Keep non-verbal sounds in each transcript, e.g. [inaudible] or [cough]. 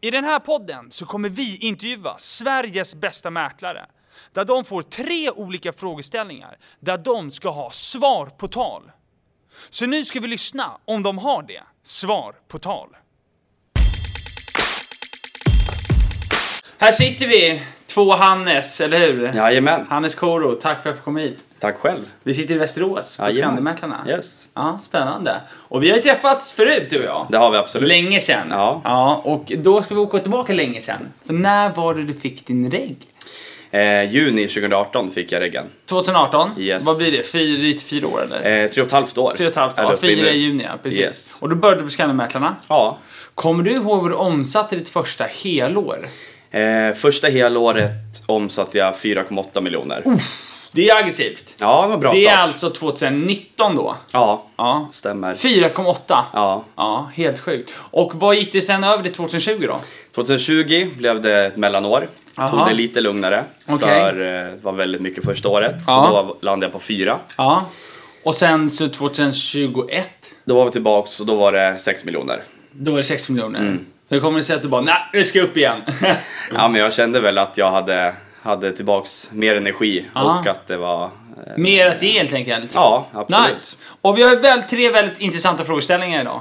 I den här podden så kommer vi intervjua Sveriges bästa mäklare. Där de får tre olika frågeställningar där de ska ha svar på tal. Så nu ska vi lyssna om de har det. Svar på tal. Här sitter vi, två Hannes, eller hur? Jajamän, Hannes Koro, tack för att jag kom hit. tack själv. Vi sitter i Västerås på Jajamän. Skandimäklarna. Yes, Ja, spännande. Och vi har ju träffats förut du och jag. det har vi absolut. Länge sedan. Ja. Och då ska vi åka tillbaka länge sedan. För när var det du fick din regg? Eh, juni 2018 fick jag reggen. 2018? Yes. Vad blir det? Fyra, lite fyra år eller? Eh, tre och ett halvt år. Tre och ett halvt Är det år. uppe i Fyra nu. i juni, ja, precis. Yes. Och då började du på Skandimäklarna. Ja. Kommer du ihåg hur du omsatte ditt första helår? Eh, första helåret omsatte jag 4,8 miljoner. Det är aggressivt. Ja, det var bra Det är start. alltså 2019 då. Ja, Ja. stämmer. 4,8. Ja. Ja, helt sjukt. Och vad gick det sen över till 2020 då? 2020 blev det ett mellanår. Aha. Tog det lite lugnare. Okej. För eh, det var väldigt mycket första året. Ja. Så då landade jag på fyra. Ja. Och sen så 2021? Då var vi tillbaks och då var det 6 miljoner. Då var det 6 miljoner. Mm. Hur kommer det sig att du bara, nej, nu ska jag upp igen. [laughs] Ja, men jag kände väl att jag hade, hade tillbaks mer energi Ja. och att det var... eh, Mer att ge helt enkelt. Ja, absolut. Nice. Och vi har väl tre väldigt intressanta frågeställningar idag.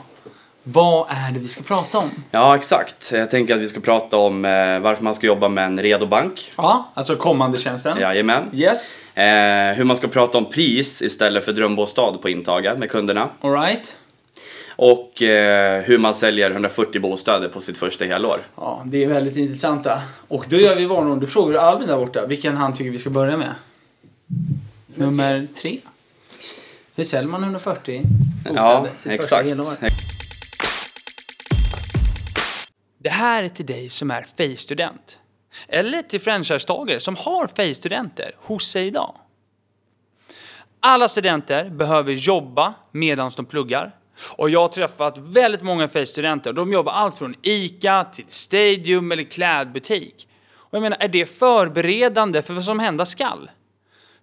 Vad är det vi ska prata om? Ja, exakt. Jag tänker att vi ska prata om eh, varför man ska jobba med en redobank. Ja, alltså kommande tjänsten. Jajamän. Yes. Eh, hur man ska prata om pris istället för drömbostad på intaget med kunderna. Alright. Och eh, hur man säljer 140 bostäder på sitt första helår. Ja, det är väldigt intressanta. Och då gör vi varning. Du frågar Albin där borta vilken han tycker vi ska börja med. Nummer tre. Hur säljer man 140 bostäder sitt första helår? Det här är till dig som är FEI-student. Eller till franchisetagare som har FEI-studenter hos sig idag. Alla studenter behöver jobba medan de pluggar. Och jag har träffat väldigt många FEI-studenter och de jobbar allt från ICA till Stadium eller klädbutik. Och jag menar, är det förberedande för vad som hända skall?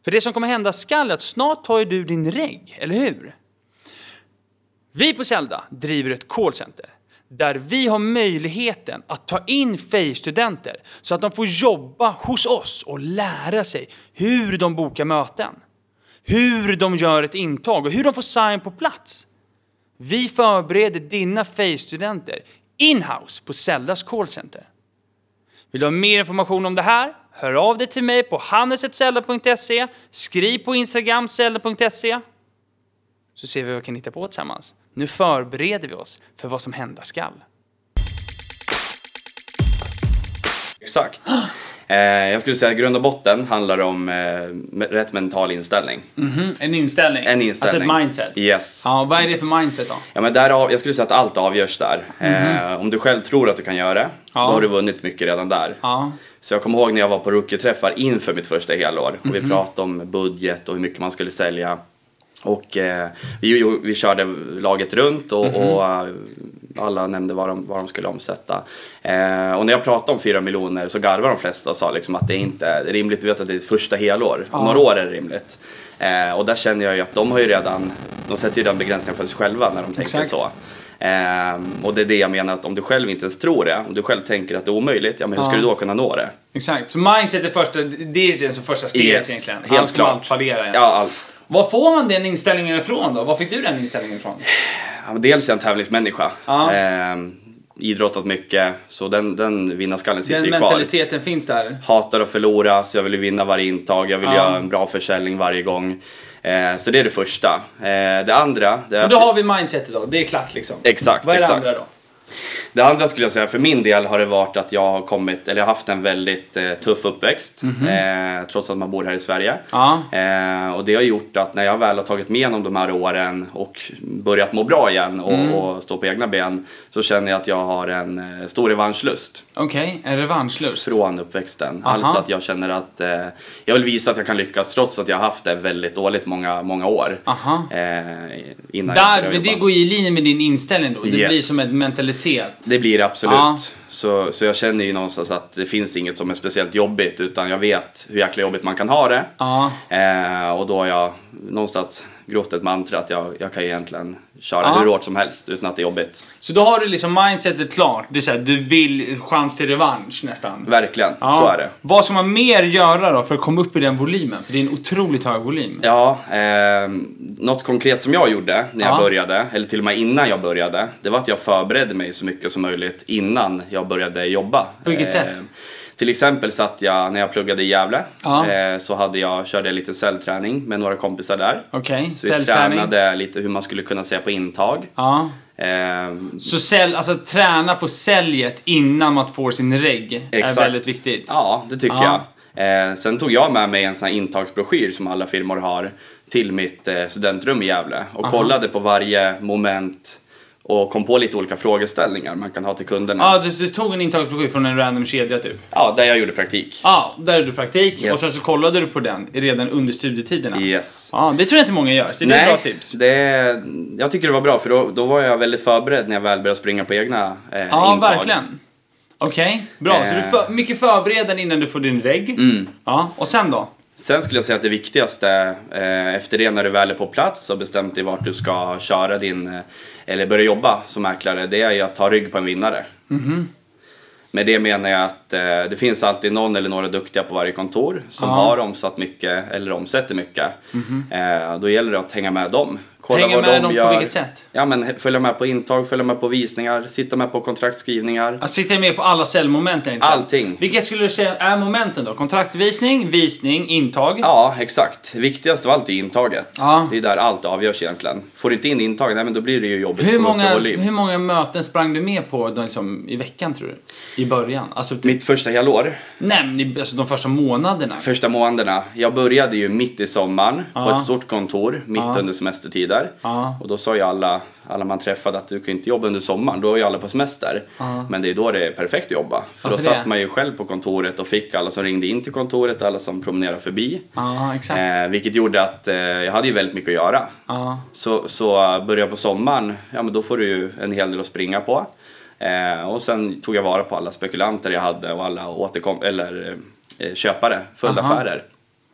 För det som kommer hända skall är att snart tar ju du din regg, eller hur? Vi på Zelda driver ett callcenter där vi har möjligheten att ta in FEI-studenter så att de får jobba hos oss och lära sig hur de bokar möten, hur de gör ett intag och hur de får sign på plats. Vi förbereder dina FEI-studenter in-house på Zeldas callcenter. Vill du ha mer information om det här? Hör av dig till mig på hannes.zelda.se, skriv på Instagram zelda.se så ser vi vad vi kan hitta på tillsammans. Nu förbereder vi oss för vad som hända skall. Exakt. Eh, jag skulle säga att grund och botten handlar om eh, me- rätt mental inställning. Mm, En inställning. En inställning. Alltså ett mindset. Yes. Ja, vad är det för mindset då? Ja, men därav, jag skulle säga att allt avgörs där. Eh, om du själv tror att du kan göra det, Mhm. Ja. då har du vunnit mycket redan där. Ja. Så jag kommer ihåg när jag var på rookie-träffar inför mitt första helår och Mhm. vi pratade om budget och hur mycket man skulle sälja. Och eh, vi, vi körde laget runt Mhm. och, och eh, alla nämnde vad de, vad de skulle omsätta. Eh, och när jag pratade om 4 miljoner så garvade de flesta och sa liksom att det inte är rimligt. Du vet att det är ett första helår, om några år är det rimligt. Eh, och där känner jag ju att de har ju redan, de sätter ju den begränsningen för sig själva när de tänker Exakt. så. Ehm, och det är det jag menar att om du själv inte ens tror det, om du själv tänker att det är omöjligt, ja men hur ska Ja. du då kunna nå det? Exakt, så mindset är första, det är alltså första steget Yes, egentligen. helt Annars kommer klart. allt fallera egentligen. Ja, allt. Var får man den inställningen ifrån då? Var fick du den inställningen ifrån? Ja, men dels är jag en tävlingsmänniska. Ja. Ehm, idrottat mycket, så den, den vinnarskallen sitter Den ju kvar. mentaliteten finns där. Hatar att förlora, så jag vill ju vinna varje intag, jag vill Ja. göra en bra försäljning varje gång. Ehm, så det är det första. Ehm, det andra, det, är Men då har vi mindsetet då, det är klart liksom. Exakt, Vad är exakt. det andra då? det andra skulle jag säga, för min del har det varit att jag har kommit, eller jag har haft en väldigt eh, tuff uppväxt, Mhm. eh, trots att man bor här i Sverige. Ja. Eh, och det har gjort att när jag väl har tagit mig igenom de här åren och börjat må bra igen och, Mm. och stå på egna ben så känner jag att jag har en eh, stor revanschlust Okej, en revanschlust. från uppväxten. Aha. Alltså att jag känner att eh, jag vill visa att jag kan lyckas trots att jag har haft det väldigt dåligt många, många år. Aha. Eh, innan jag Ah. Där, började men det jobba. går ju i linje med din inställning då. Det Yes. blir som en mentalitet. Det blir det absolut. Ja. Så, så jag känner ju någonstans att det finns inget som är speciellt jobbigt utan jag vet hur jäkla jobbigt man kan ha det. Ja. Eh, och då har jag någonstans grott ett mantra att jag, jag kan ju egentligen köra Ja. hur hårt som helst utan att det är jobbigt. Så då har du liksom mindsetet klart. Du, så här, du vill chans till revansch nästan. Verkligen, Ja. så är det. Vad ska man mer göra då för att komma upp i den volymen? För det är en otroligt hög volym. Ja, eh, något konkret som jag gjorde när jag Ja. började, eller till och med innan jag började, det var att jag förberedde mig så mycket som möjligt innan jag började jobba. Eh, På vilket sätt? Till exempel satt jag, när jag pluggade i Gävle, Ja. eh, så hade jag, körde jag lite cellträning med några kompisar där. Okej, Så vi cellträning. tränade lite hur man skulle kunna se på intag. Ja. Eh, Så cell, alltså träna på säljet innan man får sin regg är Exakt. väldigt viktigt. Ja, det tycker Ja. jag. Eh, sen tog jag med mig en sån här intagsbroschyr som alla firmor har till mitt eh, studentrum i Gävle och kollade på varje moment och kom på lite olika frågeställningar man kan ha till kunderna. Ja, du, du tog en intagsbroschyr från en random kedja typ. Ja, där jag gjorde praktik. Ja, där är du praktik Yes. och sen så kollade du på den redan under studietiderna. Yes. Ja, det tror jag inte många gör, så det är ett bra tips. Det, jag tycker det var bra för då, då var jag väldigt förberedd när jag väl började springa på egna eh, Ja, intag. verkligen. Okej, bra. Så du Eh. för, mycket förberedande innan du får din regg. Ja, och sen då? Sen skulle jag säga att det viktigaste eh, efter det när du väl är på plats och bestämt dig vart du ska köra din eh, eller börja jobba som mäklare det är ju att ta rygg på en vinnare. Mhm. Med det menar jag att eh, det finns alltid någon eller några duktiga på varje kontor som Ja. Mhm. har omsatt mycket eller omsätter mycket. Eh, då gäller det att hänga med dem. Kolla Hänga vad med de dem på gör. vilket sätt? Ja, men he- följa med på intag, följa med på visningar, sitta med på kontraktskrivningar. Att sitta med på alla cellmoment är intressant. Allting. Vilka skulle du säga är momenten då? Kontraktvisning, visning, intag? Ja, exakt. Viktigast av allt är intaget. Ja. Det är där allt avgörs egentligen. Får du inte in intaget, nej, men då blir det ju jobbigt. att Hur komma upp i många, volym. hur många möten sprang du med på då, liksom, i veckan tror du? I början? Alltså, typ, Mitt första helår, nej, men i- alltså de första månaderna? första månaderna. Jag började ju mitt i sommaren på Ja. ett stort kontor mitt under semestertider. Ja. Och då sa ju alla, alla man träffade att du kan ju inte jobba under sommaren, då är ju alla på semester. Men det är då det är perfekt att jobba. För då Varför det? satt man ju själv på kontoret och fick alla som ringde in till kontoret, alla som promenerade förbi. Ja, exakt. Eh, vilket gjorde att eh, jag hade ju väldigt mycket att göra. Ja. Så, så eh, börja på sommaren, ja men då får du ju en hel del att springa på. Eh, och sen tog jag vara på alla spekulanter jag hade och alla återkom- eller eh, köpare, följda Aha. affärer.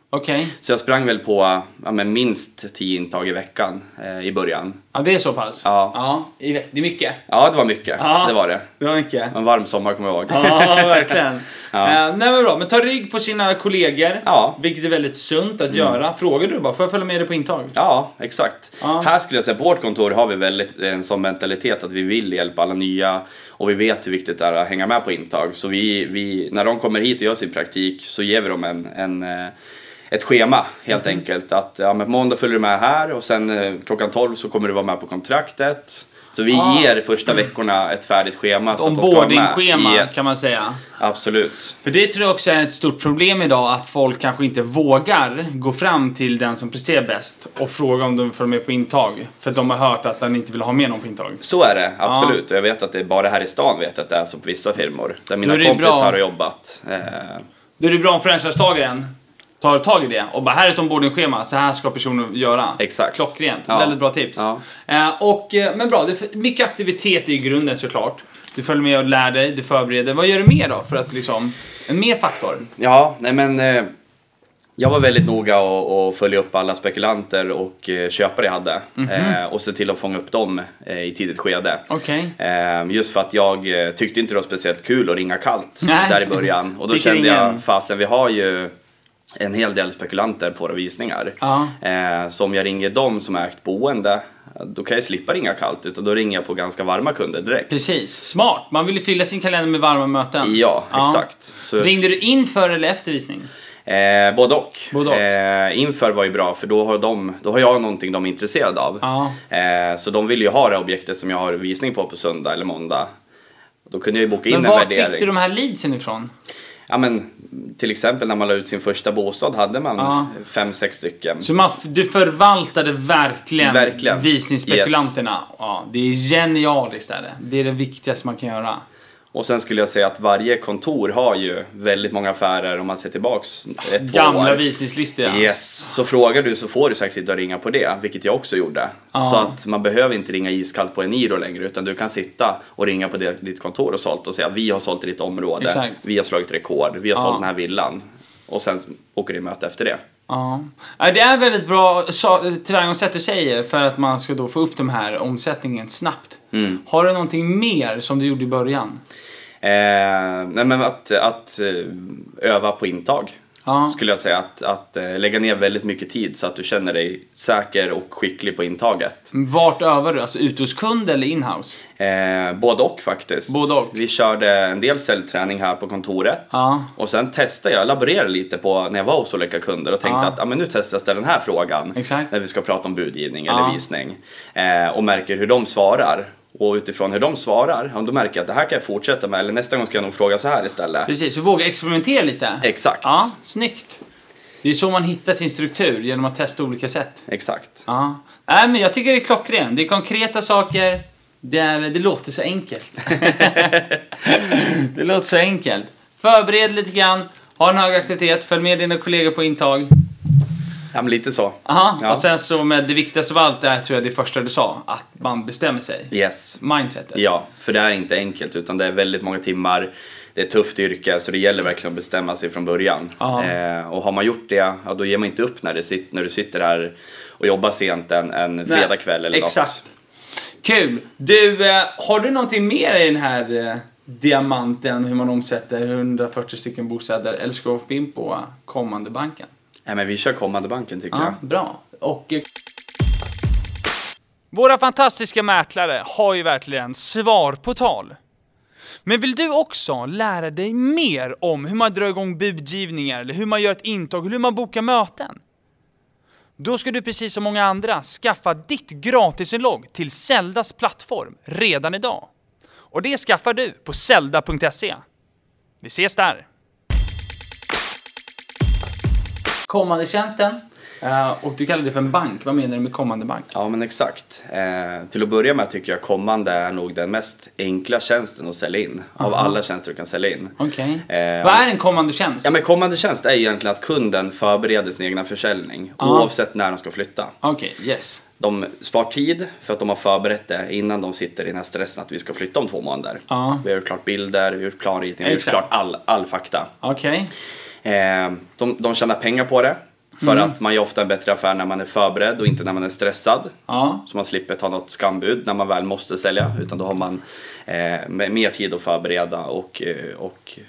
Okej, Så jag sprang väl på ja, men minst 10 intag i veckan eh, i början. ja, det är så pass? Ja. i veck- det är mycket. Ja, det var mycket. Ja. Det var det. Det var mycket. En varm sommar kommer jag ihåg. Ja, verkligen. [laughs] Ja. Eh, nej men bra, men ta rygg på sina kollegor. Ja. Mm. Vilket är väldigt sunt att göra. Frågar du bara, får jag följa med dig på intag? Ja, exakt. Ja. Här skulle jag säga, på vårt kontor har vi väldigt en sån mentalitet att vi vill hjälpa alla nya och vi vet hur viktigt det är att hänga med på intag. Så vi, vi, när de kommer hit och gör sin praktik så ger vi dem en, en, eh, ett schema helt Mm-hmm. enkelt. Att ja, men på måndag följer du med här och sen eh, klockan 12 så kommer du vara med på kontraktet. Så vi Ah. ger första veckorna ett färdigt schema. så att de ska vara med. Onboarding-schema Yes, kan man säga. Absolut. För det tror jag också är ett stort problem idag, att folk kanske inte vågar gå fram till den som presterar bäst och fråga om de får med på intag. För de har hört att den inte vill ha med någon på intag. Så är det, absolut. Ah. Och jag vet att det är bara här i stan vet jag att det är så på vissa firmor. Där mina är det kompisar bra. har jobbat. Eh, Då är det bra om franchisetagaren tar tag i det och bara här är ett onboarding-schema, så här ska personen göra. Exakt. Klockrent, Ja. väldigt bra tips. Ja. Eh, och, eh, men bra, det, mycket aktivitet i grunden såklart. Du följer med och lär dig, du förbereder. Vad gör du mer då för att liksom, en mer faktor? Ja, nej men eh, jag var väldigt noga och, och följa upp alla spekulanter och eh, köpare jag hade Mhm. eh, och se till att fånga upp dem eh, i tidigt skede. Okej. Eh, just för att jag eh, tyckte inte det var speciellt kul att ringa kallt Nej. där i början och då Tycker kände ingen. jag fasen vi har ju en hel del spekulanter på våra visningar. Ja. Eh, så om jag ringer dem som ägt boende då kan jag slippa ringa kallt utan då ringer jag på ganska varma kunder direkt. Precis, smart. Man vill ju fylla sin kalender med varma möten. Ja, exakt. Så- Ringde du in för eller efter visning? Eh, både och. Både och. Eh, inför var ju bra för då har, de, då har jag någonting de är intresserade av. Ja. Eh, så de vill ju ha det objektet som jag har visning på på söndag eller måndag. Då kunde jag ju boka in Men en var värdering. fick du de här leadsen ifrån? ja, men, till exempel när man la ut sin första bostad hade man Ja. fem, sex stycken. Så man, du förvaltade verkligen, Verkligen. visningsspekulanterna. Ja, det är genialiskt. Är det. det är det viktigaste man kan göra. Och sen skulle jag säga att varje kontor har ju väldigt många affärer om man ser tillbaks ett, två Gamla år. visningslistor ja. Yes. Så frågar du så får du säkert sitta och ringa på det, vilket jag också gjorde. Så att man behöver inte ringa iskallt på en Eniro längre utan du kan sitta och ringa på det, ditt kontor och sålt och säga vi har sålt i ditt område, Exakt. vi har slagit rekord, vi har Ja. sålt den här villan. Och sen åker du i möte efter det. Ja. Ja, Det är väldigt bra sa- tillvägagångssätt du säger för att man ska då få upp de här omsättningen snabbt. Mm. Har du någonting mer som du gjorde i början? Eh, nej, men att, att eh, öva på intag Ja. skulle jag säga. Att, att eh, lägga ner väldigt mycket tid så att du känner dig säker och skicklig på intaget. Vart övar du? Alltså ute hos kund eller inhouse? Eh, både och faktiskt. Både och. Vi körde en del cellträning här på kontoret. Ja. Och sen testade jag, laborerade lite på när jag var hos olika kunder och tänkte Ja. att ah, men nu testas det den här frågan. Exakt. När vi ska prata om budgivning Ja. eller visning. Eh, och märker hur de svarar. Och utifrån hur de svarar, om då märker jag att det här kan jag fortsätta med eller nästa gång ska jag nog fråga så här istället. Precis, så våga experimentera lite. Exakt. Ja, snyggt. Det är så man hittar sin struktur, genom att testa olika sätt. Exakt. Ja. Nej, men jag tycker det är klockrent. Det är konkreta saker. Det, är, det låter så enkelt. [laughs] det låter så enkelt. Förbered lite grann. Ha en hög aktivitet. Följ med dina kollegor på intag. Ja, men lite så. Aha. Ja. Och sen så med det viktigaste av allt, det här tror jag det första du sa. Att man bestämmer sig. Yes. Mindsetet. Ja, för det är inte enkelt utan det är väldigt många timmar. Det är ett tufft yrke så det gäller verkligen att bestämma sig från början. Ja. Eh, och har man gjort det, ja, då ger man inte upp när, det sit, när du sitter här och jobbar sent en, en fredagkväll eller Exakt. något. Kul! Du, eh, har du någonting mer i den här eh, diamanten hur man omsätter 140 stycken bostäder? Eller ska vi hoppa in på eh, kommande banken? Nej, Eh, men vi kör kommande banken tycker Ja, jag. bra. Och... eh, Våra fantastiska mäklare har ju verkligen svar på tal. Men vill du också lära dig mer om hur man drar igång budgivningar, eller hur man gör ett intag, eller hur man bokar möten? Då ska du precis som många andra skaffa ditt gratisinlogg till Zeldas plattform redan idag. Och det skaffar du på zelda.se. Vi ses där! kommande tjänsten. Eh, och du kallar det för en bank. Vad menar du med kommande bank? Ja men exakt. Eh, till att börja med tycker jag kommande är nog den mest enkla tjänsten att sälja in. Av alla tjänster du kan sälja in. Okej. Eh, Vad är en kommande tjänst? Ja men kommande tjänst är ju egentligen att kunden förbereder sin egna försäljning. Ja. Oavsett när de ska flytta. Okej, yes. De spar tid för att de har förberett det innan de sitter i den här stressen att vi ska flytta om två månader. Ja. Vi har gjort klart bilder, vi har gjort planritningar, vi har gjort Exakt. klart all, all fakta. Okej. Eh, de, de tjänar pengar på det. För Mm. att man gör ofta en bättre affär när man är förberedd och inte när man är stressad. Ja. Så man slipper ta något skambud när man väl måste sälja. Utan då har man eh, med- mer tid att förbereda och, eh, och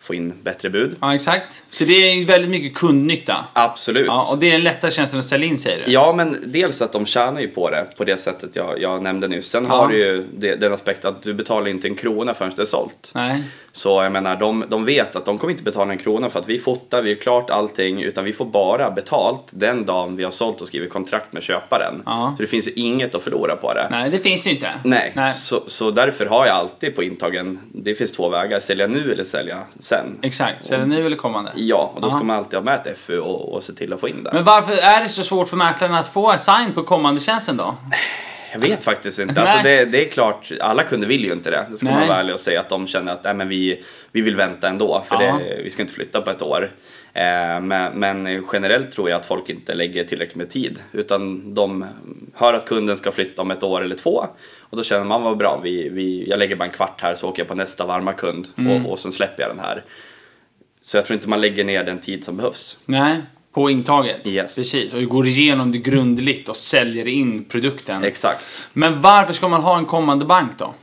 få in bättre bud. Ja, exakt. Så det är väldigt mycket kundnytta. Absolut. Ja, och det är den lätta tjänsten att sälja in säger du? Ja, men dels att de tjänar ju på det på det sättet jag, jag nämnde nyss. Sen Ja. har du ju det, den aspekten att du betalar inte en krona förrän det är sålt. Nej. Så jag menar, de, de vet att de kommer inte betala en krona för att vi fotar, vi har klart allting, utan vi får bara betalt den dagen vi har sålt och skrivit kontrakt med köparen. Ja. Så det finns ju inget att förlora på det. Nej, det finns det ju inte. Nej, Nej. Så, så därför har jag alltid på intagen, det finns två vägar, sälja nu eller sälja sen. Exakt. Sälja Mm. nu eller kommande? Ja, och då Aha. ska man alltid ha med ett FU och, och se till att få in det. Men varför är det så svårt för mäklarna att få assign på kommande tjänsten då? Jag vet faktiskt inte. Alltså Nej. det, det är klart, alla kunder vill ju inte det. Det ska man Nej. vara ärlig och säga att de känner att nej, men vi, vi vill vänta ändå för Ja. det, vi ska inte flytta på ett år. Eh, men, men generellt tror jag att folk inte lägger tillräckligt med tid utan de hör att kunden ska flytta om ett år eller två och då känner man vad bra, vi, vi, jag lägger bara en kvart här så åker jag på nästa varma kund Mm. och, och sen släpper jag den här. Så jag tror inte man lägger ner den tid som behövs. Nej. På intaget? Yes. Precis. Och du går igenom det grundligt och säljer in produkten. Exakt. Men varför ska man ha en kommande bank då?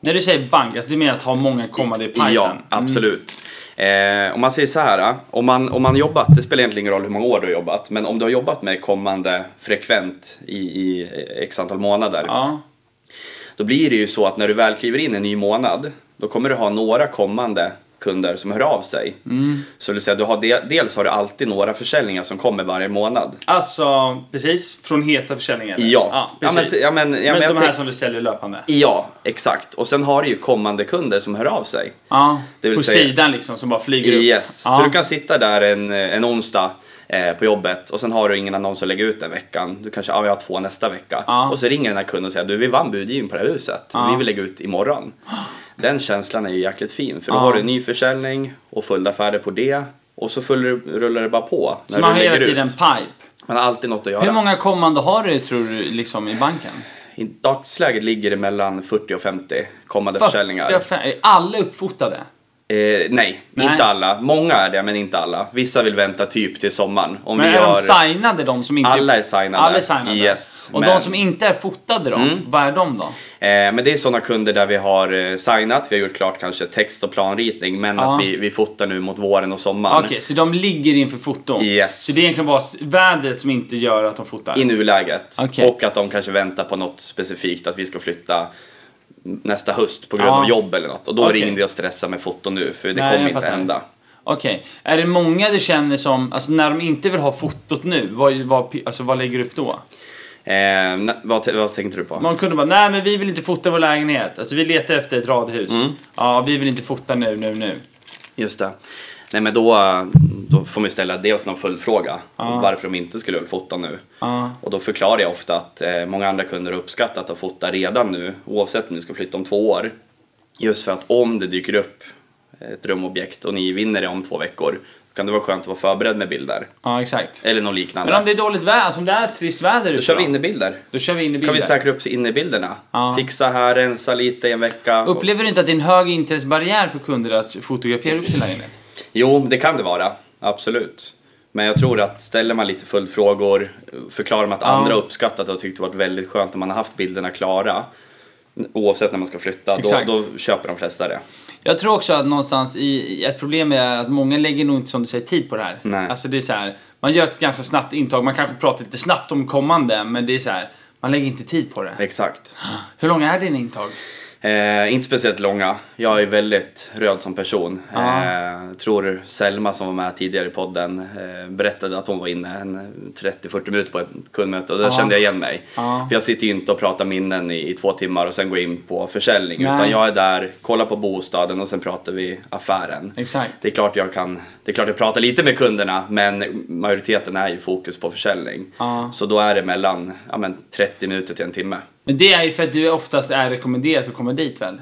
När du säger bank, alltså du menar att ha många kommande i pipen? Ja, absolut. Eh, om man säger så här, eh, om man, om man jobbat, det spelar egentligen ingen roll hur många år du har jobbat, men om du har jobbat med kommande frekvent i, i eh, x antal månader, Ja, då blir det ju så att när du väl kliver in en ny månad, då kommer du ha några kommande kunder som hör av sig. Så det vill säga, du har de, dels har du alltid några försäljningar som kommer varje månad. alltså precis. Från heta försäljningar? eller? Ja. ja Ja, men- precis. ja, men- ja, men jag de här tänk- som du säljer löpande? Ja, exakt. Och sen har du ju kommande kunder som hör av sig. Ja, Det vill på säga- sidan liksom som bara flyger upp? Yes, Ja. så du kan sitta där en, en onsdag eh, på jobbet och sen har du ingen annons att lägga ut den veckan. Du kanske, ja vi har två nästa vecka. Ja. Och så ringer den här kunden och säger, du vi vann budgivning på det här huset. Ja. Vi vill lägga ut imorgon. Den känslan är ju jäkligt fin för då Ja. har du ny försäljning och fulla affärer på det. Och så full, rullar det bara på när Så man har du hela lägger tiden ut. pipe? Man har alltid något att göra. Hur många kommande har du tror du liksom i banken? I dagsläget ligger det mellan 40 och 50 kommande försäljningar. Fyrtiofem- Är alla uppfotade? Eh, nej, Nej. inte alla. Många är det, men inte alla. Vissa vill vänta typ till sommaren. Om Men vi är gör... de signade de som inte... Alla är signade. Alla är signade. Yes, och de men- Mm. som inte är fotade då, vad är de då? Eh, men det är sådana kunder där vi har eh, signat, vi har gjort klart kanske text och planritning, men Ja. att vi, vi fotar nu mot våren och sommaren. Okej, så de ligger inför foton? Yes. Så det är egentligen bara s- vädret som inte gör att de fotar? I nuläget. Okej. Och att de kanske väntar på något specifikt, att vi ska flytta nästa höst på grund Ja. av jobb eller något. Och då är Okej. det ingen idé att stressa med foto nu, för det Nej, jag kommer inte fattar. hända. Okej. Är det många du känner som, alltså när de inte vill ha fotot nu, vad, vad, alltså, vad lägger du upp då? Eh, na- vad, t- vad tänkte du på? Någon kunde bara, nej men vi vill inte fota vår lägenhet. Alltså vi letar efter ett radhus. Mm. Ja, vi vill inte fota nu, nu, nu. Just det. Nej men då, eh, då får man ju ställa dels någon följdfråga. Varför de inte skulle fota nu. Ja. Och då förklarar jag ofta att eh, många andra kunder har uppskattat att fota redan nu. Oavsett om ni ska flytta om två år. Just för att om det dyker upp ett drömobjekt och ni vinner det om två veckor. Då kan det vara skönt att vara förberedd med bilder. Ja, exakt. Eller något Men om liknande. det är dåligt väder, som det är trist väder Då ute kör vi då? innebilder. Då kör vi in i Då kan vi bilden. säkra upp innebilderna. Ja. Fixa här, rensa lite i en vecka. Upplever du inte att det är en hög intressebarriär för kunder att fotografera upp sin lägenhet? Jo, det kan det vara. Absolut. Men jag tror att ställer man lite följdfrågor, förklarar man att andra uppskattat och tyckt det varit väldigt skönt när man har haft bilderna klara, oavsett när man ska flytta, då, Exakt. då köper de flesta det. Jag tror också att någonstans i, i ett problem är att många lägger nog inte som du säger tid på det här. Nej. Alltså det är så här, man gör ett ganska snabbt intag, man kanske pratar lite snabbt om kommande men det är så här, man lägger inte tid på det. Exakt. Hur långa är dina intag? Eh, inte speciellt långa. Jag är väldigt röd som person. Ja. Eh, tror Selma som var med tidigare i podden eh, berättade att hon var inne en 30-40 minuter på ett kundmöte och där Ja. kände jag igen mig. Ja. För jag sitter ju inte och pratar minnen i, i två timmar och sen går in på försäljning Nej. utan jag är där, kollar på bostaden och sen pratar vi affären. Exakt. Det är klart jag kan, det är klart jag pratar lite med kunderna men majoriteten är ju fokus på försäljning. Ja. Så då är det mellan ja, men 30 minuter till en timme. Men det är ju för att du oftast är rekommenderad för att komma dit väl?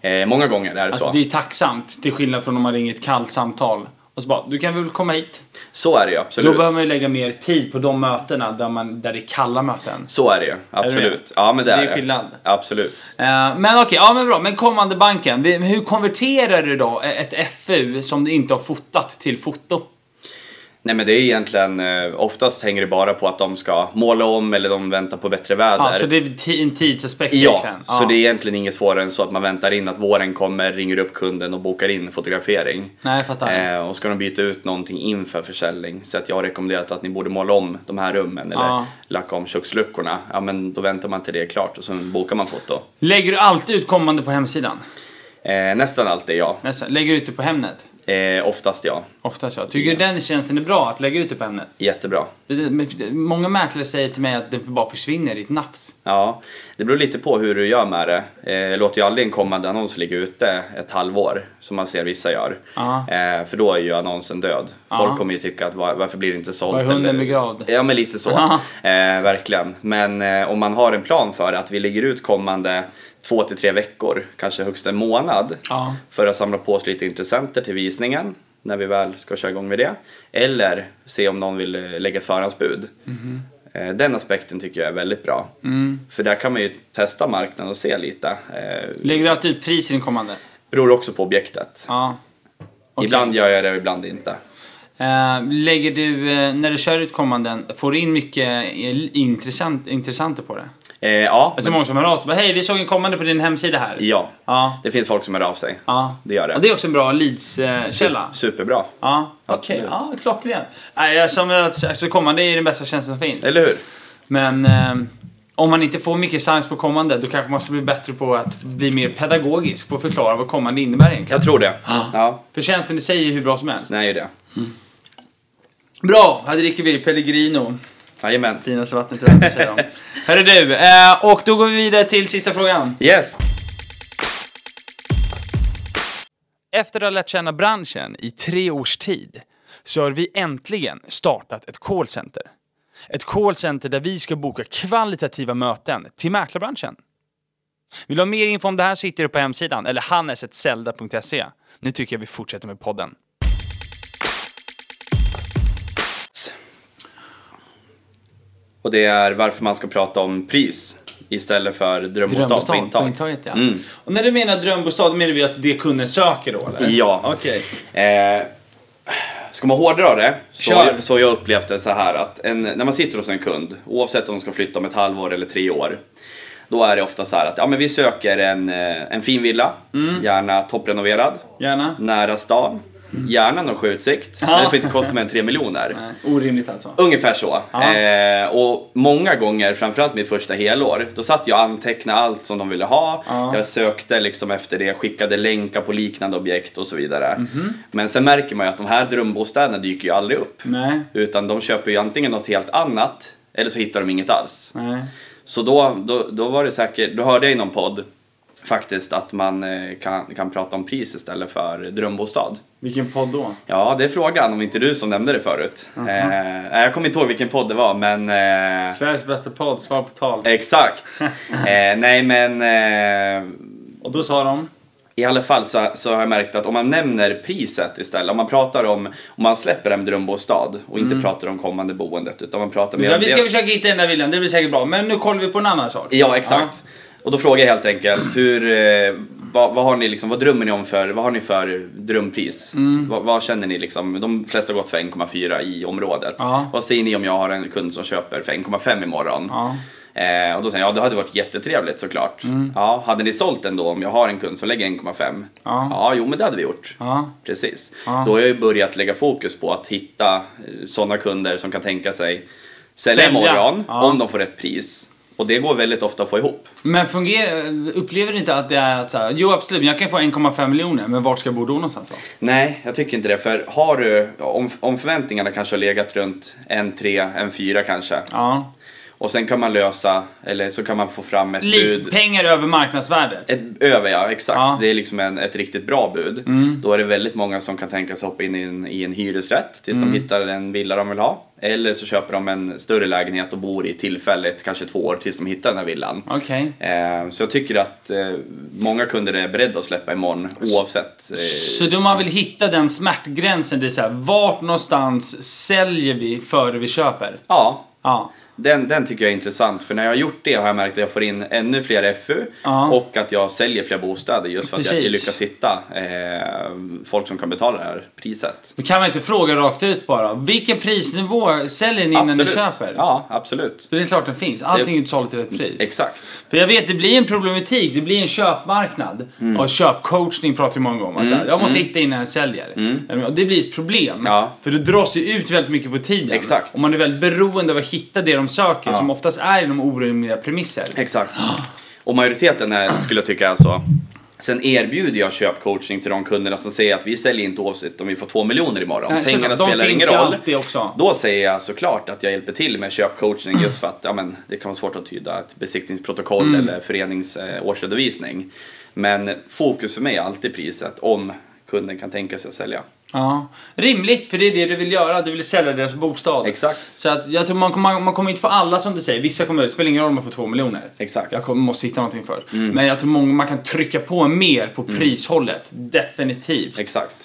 Eh, många gånger är det så. Alltså det är ju tacksamt till skillnad från om man ringer ett kallt samtal och så bara, du kan väl komma hit? Så är det ju absolut. Då behöver man ju lägga mer tid på de mötena där, man, där det är kalla möten. Så är det ju, Är det absolut. det? ja, men Så det är det är det. skillnad. Absolut. Eh, Men okej, ja men bra. Men kommande banken. vi- Hur konverterar du då ett FU som du inte har fotat till foto? Nej men det är egentligen, eh, oftast hänger det bara på att de ska måla om eller de väntar på bättre väder. Ja, så Alltså, det är ti- en tidsaspekt Ja, egentligen. så det är egentligen inget svårare än så att man väntar in att våren kommer, ringer upp kunden och bokar in fotografering. Nej, jag fattar. Eh, och ska de byta ut någonting inför försäljning, så att jag har rekommenderat att ni borde måla om de här rummen eller Ja. lacka om köksluckorna, ja men då väntar man till det är klart och sen bokar man foto. Lägger du alltid ut kommande på hemsidan? Eh, nästan alltid ja, Nästan. Lägger du ut det på Hemnet? eh, oftast ja. Oftast ja. Tycker du den tjänsten är bra, att lägga ut det på Hemnet? Jättebra. Det- det- men- Många mäklare säger till mig att den bara försvinner i ett nafs. Ja, det beror lite på hur du gör med det. Eh, jag låter ju aldrig en kommande annons ligga ute ett halvår, som man ser vissa gör. Ja. Eh, för då är ju annonsen död. Folk Ja. kommer ju tycka att var, varför blir det inte sålt? Var är hunden eller- begravd? Ja, men lite [laughs] så. Ja. Eh, verkligen. Men eh, om man har en plan för att vi lägger ut kommande två till tre veckor, kanske högst en månad, Ja. för att samla på oss lite intressenter till visningen när vi väl ska köra igång med det. Eller se om någon vill eh, lägga ett förhandsbud. Eh, Den aspekten tycker jag är väldigt bra. För där kan man ju testa marknaden och se lite. Eh, Lägger du alltid ut pris i den kommande? Beror också på objektet. Ja. Okej. Ibland gör jag det och ibland inte. Eh, lägger du, eh, när du kör ut kommanden, får du in mycket eh, intressant, intressenter på det? Eh, ja, Alltså men, många som hör av sig bara, hej vi såg en kommande på din hemsida här. ja, Ja. det finns folk som hör av sig. Ja. Det gör det. Ja, det är också en bra leads-källa. Superbra. Ja, okej. Absolut. Ja, klockrent. Nej, jag- som jag- Alltså kommande är den bästa tjänsten som finns. Eller hur? Men eh, om man inte får mycket science på kommande, då kanske man ska bli bättre på att bli mer pedagogisk på att förklara vad kommande innebär egentligen. Jag tror det. Ja. Ja, För tjänsten i sig är ju hur bra som helst. den är ju det. Bra, här dricker vi Pellegrino. Jajamän. Finaste vattnet i världen säger de. [laughs] Hörru du, eh, och då går vi vidare till sista frågan. Yes! Efter att ha lärt känna branschen i tre års tid så har vi äntligen startat ett callcenter. Ett callcenter där vi ska boka kvalitativa möten till mäklarbranschen. Vill du ha mer info om det här sitter du på hemsidan eller hannesetzelda.se. Nu tycker jag vi fortsätter med podden. Och det är varför man ska prata om pris istället för drömbostad på intag. intaget ja. Mm. Och när du menar drömbostad, menar vi att det kunden söker då eller? Ja. Okej. Eh, ska man hårdra det så, Kör. så har jag upplevt det så här att en, när man sitter hos en kund, oavsett om de ska flytta om ett halvår eller tre år, då är det ofta så här att ja, men vi söker en, eh, en fin villa, Mm. gärna topprenoverad, Gärna. nära stan, gärna någon sjöutsikt, Mm. Ja. men det får inte kosta mer än 3 miljoner. Nej, Orimligt alltså. Ungefär så. Ja. Eh, och många gånger, framförallt mitt första helår, då satt jag och antecknade allt som de ville ha. Ja. Jag sökte liksom efter det, skickade länkar på liknande objekt och så vidare. Mhm. Men sen märker man ju att de här drömbostäderna dyker ju aldrig upp. Nej. Utan de köper ju antingen något helt annat, eller så hittar de inget alls. Nej. Så då, då, då var det säkert, då hörde jag i någon podd faktiskt att man eh, kan, kan prata om pris istället för drömbostad. Vilken podd då? Ja, det är frågan om inte du som nämnde det förut. eh, jag kommer inte ihåg vilken podd det var, men... Eh, Sveriges bästa podd, svar på tal. [laughs] exakt. eh, nej, men... Eh, Och då sa de? I alla fall så, så har jag märkt att om man nämner priset istället, om man pratar om... Om man släpper en drömbostad och inte pratar om kommande boendet, utan man pratar mer Så om Mm. vi det- ska försöka hitta den där villan, det blir säkert bra. Men nu kollar vi på en annan sak. Ja, exakt. Och då frågar jag helt enkelt, hur, eh, vad, vad, har ni liksom, vad drömmer ni om för, vad har ni för drömpris? Mm. Vad, vad känner ni liksom, de flesta har gått för 1,4 i området. Ja. Vad säger ni om jag har en kund som köper för 1,5 imorgon? Ja. Mm. Eh, och då säger jag, ja det hade varit jättetrevligt såklart. Ja, hade ni sålt ändå om jag har en kund som lägger 1,5? Ja. ja, jo men det hade vi gjort. Ja. Precis. Ja. Då har jag ju börjat lägga fokus på att hitta sådana kunder som kan tänka sig sälja, Sälja. imorgon Ja. om de får rätt pris. Och det går väldigt ofta att få ihop. Men fungerar, upplever du inte att det är att så här, jo absolut, jag kan få 1,5 miljoner, men vart ska jag bo då någonstans då? Nej, jag tycker inte det. För har du, om, om förväntningarna kanske har legat runt en tre, en fyra kanske. Ja. Och sen kan man lösa, eller så kan man få fram ett Lite bud. pengar över marknadsvärdet. Ett, över ja, exakt. Ja. Mm. Det är liksom en, ett riktigt bra bud. Då är det väldigt många som kan tänka sig hoppa in i en, i en hyresrätt tills Mm. de hittar en villa de vill ha. Eller så köper de en större lägenhet och bor i tillfälligt kanske två år tills de hittar den här villan. Okej. Eh, Så jag tycker att eh, många kunder är beredda att släppa imorgon oavsett. eh, Så då man vill hitta den smärtgränsen, det är så här, vart någonstans säljer vi före vi köper? Ja, Ja. Den, den tycker jag är intressant för när jag har gjort det har jag märkt att jag får in ännu fler FU Ja. och att jag säljer fler bostäder just för att jag Precis. lyckas hitta eh, folk som kan betala det här priset. Då kan man inte fråga rakt ut bara, vilken prisnivå säljer ni innan ni köper? Ja, absolut. För det är klart den finns, allting är inte sålt till rätt pris. Exakt. För jag vet, det blir en problematik. Det blir en köpmarknad. Mm. Och köpcoachning pratar vi många om. Alltså, jag måste hitta innan jag säljer. Och det blir ett problem. Mm. Ja. För du dras ju ut väldigt mycket på tiden. Exakt. Och man är väldigt beroende av att hitta det de söker. Ja. Som oftast är inom orimliga premisser. Exakt. Och majoriteten är, skulle jag tycka är så. Sen erbjuder jag köpcoachning till de kunderna som säger att vi säljer inte oavsett om vi får 2 miljoner imorgon. Nej, Pengarna såklart. De spelar finns ingen ju roll. alltid också. Då säger jag såklart att jag hjälper till med köpcoachning just för att ja, men, det kan vara svårt att tyda ett besiktningsprotokoll Mm. eller förenings eh, årsredovisning. Men fokus för mig är alltid priset om kunden kan tänka sig att sälja. Ja. Rimligt, för det är det du vill göra. Du vill sälja deras bostad. Exakt. Så att jag tror man, kommer- man kommer inte få alla som du säger. Vissa kommer, det spelar ingen roll om man får två miljoner. Exakt. Jag kommer, måste hitta någonting för. Men jag tror många, man kan trycka på mer på prishållet. Definitivt. Exakt.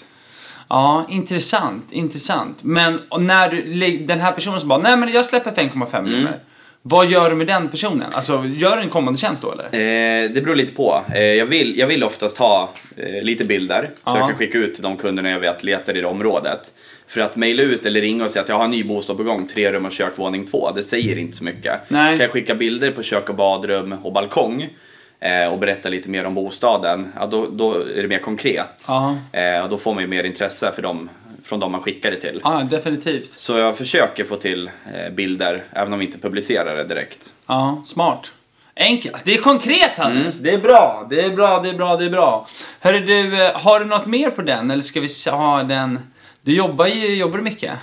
Ja, intressant, intressant. Men när du, lä- den här personen som bara, nej men jag släpper för 1,5 miljoner. Vad gör du med den personen? Alltså, gör du en kommande tjänst då eller? Eh, det beror lite på. Eh, jag, vill, jag vill oftast ha eh, lite bilder Ja. så jag kan skicka ut till de kunderna jag vet letar i det området. För att mejla ut eller ringa och säga att jag har en ny bostad på gång, tre rum och kök, våning två, det säger inte så mycket. Nej. Kan jag skicka bilder på kök och badrum och balkong eh, och berätta lite mer om bostaden, ja, då, då är det mer konkret. Ja. Eh, och då får man ju mer intresse för dem, från de man skickar det till. Ja, definitivt. Så jag försöker få till eh, bilder, även om vi inte publicerar det direkt. Ja, smart. Enkelt. Alltså, Det är konkret Hannes. Mm. Det är bra, det är bra, det är bra, det är bra. Hörru du, eh, har du något mer på den eller ska vi s- ha den? Du jobbar ju, jobbar du mycket?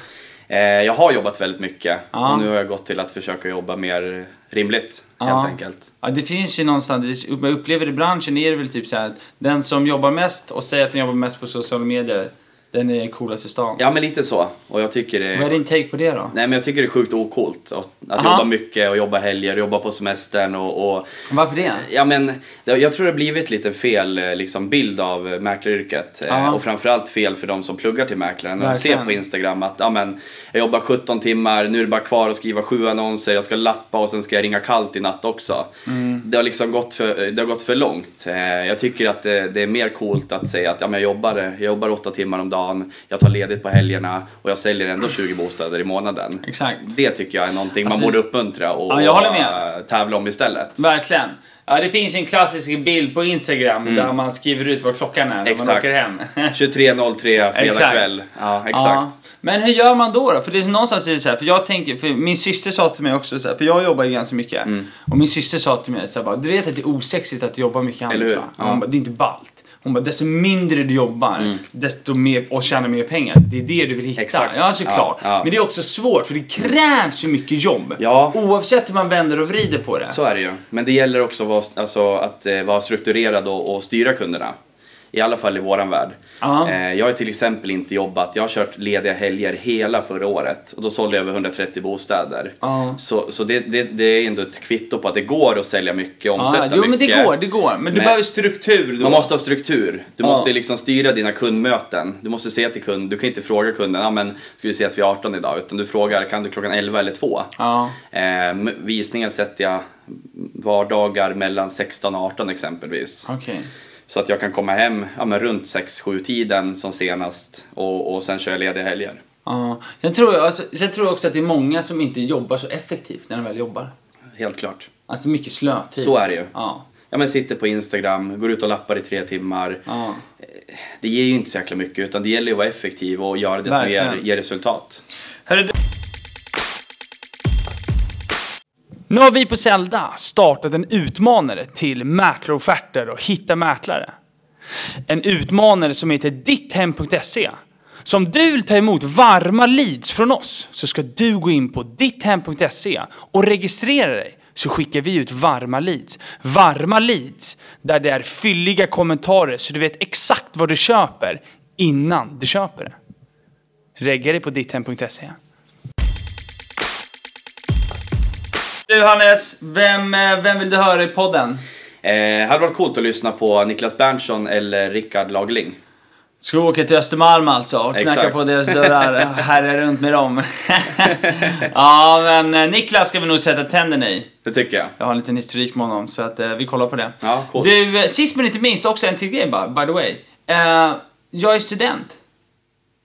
Eh, jag har jobbat väldigt mycket Ja. och nu har jag gått till att försöka jobba mer rimligt Ja. helt enkelt. Ja, det finns ju någonstans, det- jag upplever i branschen är det väl typ så här att den som jobbar mest och säger att den jobbar mest på sociala medier Den är coolast i stan. Ja men lite så. Och jag tycker det Vad är din take på det då? Nej men jag tycker det är sjukt ocoolt att, att Aha. jobba mycket och jobba helger och jobba på semestern och, och Varför det? Ja men det- jag tror det har blivit lite fel eh, liksom, bild av eh, mäklaryrket Eh, Ja. och framförallt fel för de som pluggar till mäklare. När de Verkligen. ser på Instagram att ja, men, jag jobbar 17 timmar, nu är det bara kvar att skriva sju annonser, jag ska lappa och sen ska jag ringa kallt i natt också. Mm. Det har liksom gått för, det har gått för långt. Eh, Jag tycker att det, det är mer coolt att säga att ja, men jag, jobbar, eh, jag jobbar 8 timmar om dagen, jag tar ledigt på helgerna och jag säljer ändå 20 bostäder i månaden. Exakt. Det tycker jag är någonting Alltså- man borde uppmuntra och, Ja, jag håller med. och, eh, tävla om istället. Verkligen. Ja, det finns ju en klassisk bild på Instagram där man skriver ut vad klockan är när man Mm. Exakt. åker hem. [laughs] 23.03 fredag Exakt. kväll. Ja, exakt. Ja. Men hur gör man då? då? För det är någonstans är det så här, för jag tänker, för min syster sa till mig också så här, för jag jobbar ju ganska mycket. Mm. Och min syster sa till mig så här, bara, du vet att det är osexigt att jobba mycket Eller annat hur? va? Ja. Mm. Hon bara, det är inte ballt. Hon bara, desto mindre du jobbar, desto mer och tjänar mer pengar. Det är det du vill hitta. Exakt. Ja, såklart. Ja, ja. Men det är också svårt, för det krävs ju mycket jobb. Ja. Oavsett hur man vänder och vrider på det. Så är det ju. Men det gäller också att vara, alltså, att, eh, vara strukturerad och, och styra kunderna. I alla fall i våran värld. Ja. Eh, jag har till exempel inte jobbat, jag har kört lediga helger hela förra året och då sålde jag över 130 bostäder. Ja. Så, så det, det, det är ändå ett kvitto på att det går att sälja mycket, omsätta Ja, jo, men mycket. det går, det går. Men du Men- behöver struktur då. Man måste ha struktur. Du Ja. måste liksom styra dina kundmöten. Du måste säga till kunden, du kan inte fråga kunden, ja men ska vi ses vid 18 idag? Utan du frågar, kan du klockan 11 eller 2? Ja. Eh, visningen sätter jag vardagar mellan 16 och 18 exempelvis. Okej. Så att jag kan komma hem ja, men runt 6-7 tiden som senast och, och sen kör jag lediga helger. Ja. Sen, tror jag, alltså, sen tror jag också att det är många som inte jobbar så effektivt när de väl jobbar. Helt klart. Alltså mycket slötid. Så är det ju. Ja. Ja men sitter på Instagram, går ut och lappar i tre timmar. ja. Det ger ju inte så jäkla mycket utan det gäller ju att vara effektiv och göra det som ger, Verkligen. ger resultat. Hörru, du- Nu har vi på Zelda startat en utmanare till mäklarofferter och hitta mäklare. En utmanare som heter ditthem.se. Så om du vill ta emot varma leads från oss så ska du gå in på ditthem.se och registrera dig så skickar vi ut varma leads. Varma leads där det är fylliga kommentarer så du vet exakt vad du köper innan du köper det. Regga dig på ditthem.se. du Hannes, vem, eh, vem vill du höra i podden? Eh, hade varit coolt att lyssna på Niklas Berntsson eller Rickard Lagling. Ska vi åka till Östermalm alltså och knacka Exakt. på deras dörrar och härja runt med [laughs] dem? ja, men eh, Niklas ska vi nog sätta tänderna i. Det tycker jag. Jag har en liten historik med honom så att eh, vi kollar på det. Ja, coolt. Du, eh, sist men inte minst också en till grej bara, by the way. Eh, jag är student.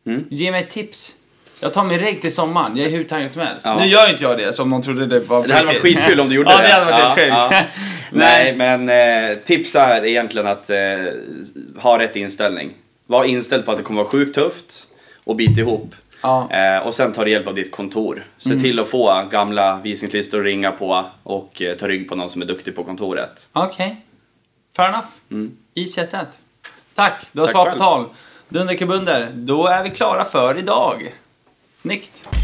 Mm. Ge mig ett tips. Jag tar min regg till sommaren, jag är hur taggad som helst. Ja. Nu gör inte jag det som någon trodde det var Det hade varit skitkul om du [laughs] gjorde ja, det. det hade varit helt sjukt. Nej, men eh, tips är egentligen att eh, ha rätt inställning. Var inställd på att det kommer vara sjukt tufft och bit ihop. Ja. Mm. Eh, och sen ta hjälp av ditt kontor. Se till att få gamla visningslistor att ringa på och eh, ta rygg på någon som är duktig på kontoret. Okej. Fair enough. I sättet. Tack, du har Tack svar på själv. tal. Dunder kabunder, då är vi klara för idag. Snyggt.